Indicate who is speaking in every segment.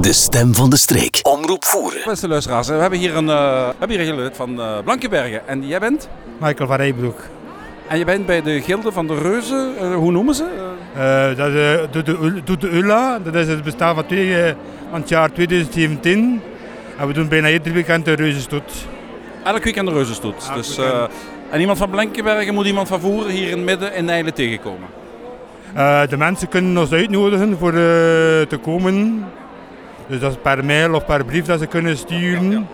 Speaker 1: De stem van de streek. Omroep voeren.
Speaker 2: Beste luisteraars, we hebben hier een, eh, we hebben hier een lid van eh Blankenbergen. En jij bent?
Speaker 3: Michael van Eebroek.
Speaker 2: En je bent bij de Gilde van de Reuzen. eh, hoe noemen ze? Eh,
Speaker 3: Eh, dat is eh, Doet de Ul- Doet de ULA. Dat is het bestaan van, twee, eh, van het jaar 2017. En we doen bijna iedere weekend de reuzenstoet.
Speaker 2: Eh, elk weekend de Reuzenstoet.
Speaker 3: Elk
Speaker 2: dus,
Speaker 3: weekend.
Speaker 2: eh, en iemand van Blankenbergen moet iemand van Voeren hier in het midden in Nijlen tegenkomen.
Speaker 3: Eh, de mensen kunnen ons uitnodigen voor eh, te komen. Dus dat is per mail of per brief dat ze kunnen sturen.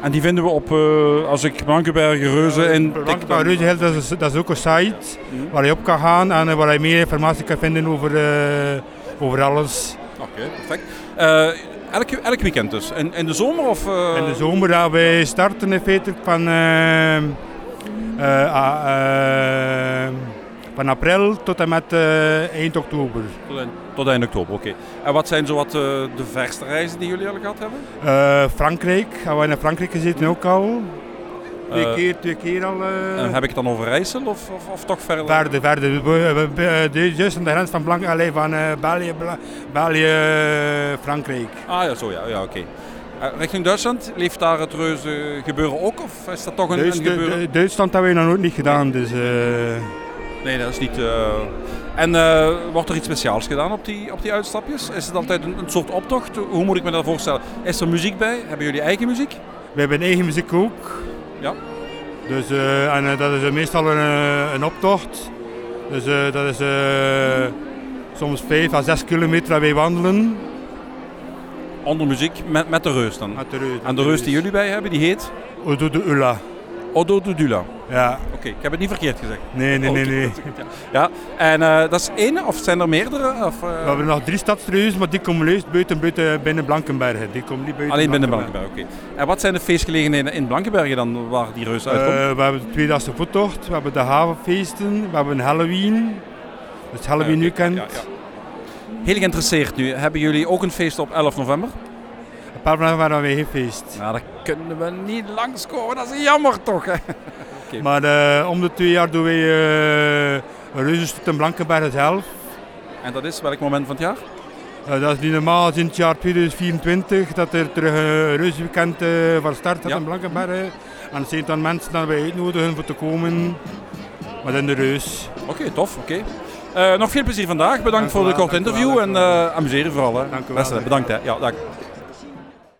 Speaker 2: En die vinden we op, eh, als ik Blankenbergen Reuzen in tik-
Speaker 3: Dankbaar Reuzenheld, dat is, dat is ook een site
Speaker 2: Mhm.
Speaker 3: waar je op kan gaan en eh, waar je meer informatie kan vinden over, eh, over alles.
Speaker 2: Oké, perfect. Eh, elk, elk weekend dus. In, in de zomer of? eh,
Speaker 3: In de zomer ja, wij starten in feite van, eh, eh, ah, eh, van april tot en met eh, eind oktober.
Speaker 2: Tot eind- Tot eind oktober, oké. En wat zijn zowat eh de verste reizen die jullie al gehad hebben?
Speaker 3: Eh, Frankrijk, hebben we in Frankrijk gezeten ook al. Twee
Speaker 2: Eh,
Speaker 3: keer, twee keer al. eh.
Speaker 2: En heb ik het dan over Rijssel of, of, of toch verder?
Speaker 3: Verder, verder. We- we- we- eh, dit is juist aan de grens van Blanc, allee, van eh, België, Bla- België, eh, Frankrijk.
Speaker 2: Ah ja, zo ja, ja oké. Eh, richting Duitsland, leeft daar het reuze gebeuren ook? Of is dat toch een, een
Speaker 3: Duits-
Speaker 2: gebeuren?
Speaker 3: Du- Dus Duitsland hebben we nog nooit niet gedaan, dus... eh,
Speaker 2: Nee, dat is niet... eh, En eh, wordt er iets speciaals gedaan op die, op die uitstapjes? Is het altijd een, een soort optocht? Hoe moet ik me dat voorstellen? Is er muziek bij? Hebben jullie eigen muziek?
Speaker 3: We hebben eigen muziek ook.
Speaker 2: Ja.
Speaker 3: Dus, eh, en eh, dat is eh, meestal een, eh, een optocht. Dus eh, dat is eh, soms 5 à 6 kilometer dat wij wandelen.
Speaker 2: Onder muziek, met, met de reus dan.
Speaker 3: Met de reus.
Speaker 2: En de reus die jullie bij hebben, die heet
Speaker 3: We doen de Ula.
Speaker 2: Odo de Dula. Oké,
Speaker 3: Ja.
Speaker 2: ik heb het niet verkeerd gezegd.
Speaker 3: Nee, nee, nee.
Speaker 2: Oké,
Speaker 3: nee.
Speaker 2: dat is goed, ja. Ja, en eh, dat is één of zijn er meerdere? Of, eh,
Speaker 3: We hebben nog drie stadsreuzen, maar die komen juist buiten, buiten binnen Blankenbergen. Die komen niet buiten
Speaker 2: Alleen binnen Blankenberg, oké. En wat zijn de feestgelegenheden in Blankenbergen dan waar die reus uitkomt?
Speaker 3: Eh, we hebben de Tweedaagse Voettocht, we hebben de havenfeesten, we hebben Halloween. Dat is Halloween
Speaker 2: Ja, oké.
Speaker 3: weekend.
Speaker 2: Ja, ja. Heel geïnteresseerd nu. Hebben jullie ook een feest op 11 november?
Speaker 3: Een paar dagen waren we geen feest.
Speaker 2: Nou, daar kunnen we niet langskomen. Dat is jammer toch? Hè?
Speaker 3: Maar eh, om de twee jaar doen wij eh een reuzenstoet in Blankenberg zelf.
Speaker 2: En dat is welk moment van het jaar?
Speaker 3: Eh, dat is niet normaal sinds het jaar 2024 dat er terug een reuzenweekend eh, van start gaat
Speaker 2: Ja.
Speaker 3: in Blankenberg. En er zijn dan mensen die wij uitnodigen voor te komen. Maar in de reus.
Speaker 2: Oké, tof. Oké. Eh, nog veel plezier vandaag. Bedankt
Speaker 3: Dank u
Speaker 2: voor de
Speaker 3: wel,
Speaker 2: korte
Speaker 3: dank u wel,
Speaker 2: interview.
Speaker 3: dank
Speaker 2: en
Speaker 3: u wel.
Speaker 2: eh amuseren vooral. Hè.
Speaker 3: Dank u wel,
Speaker 2: Beste,
Speaker 3: dank u
Speaker 2: bedankt. Hè. Ja, dank.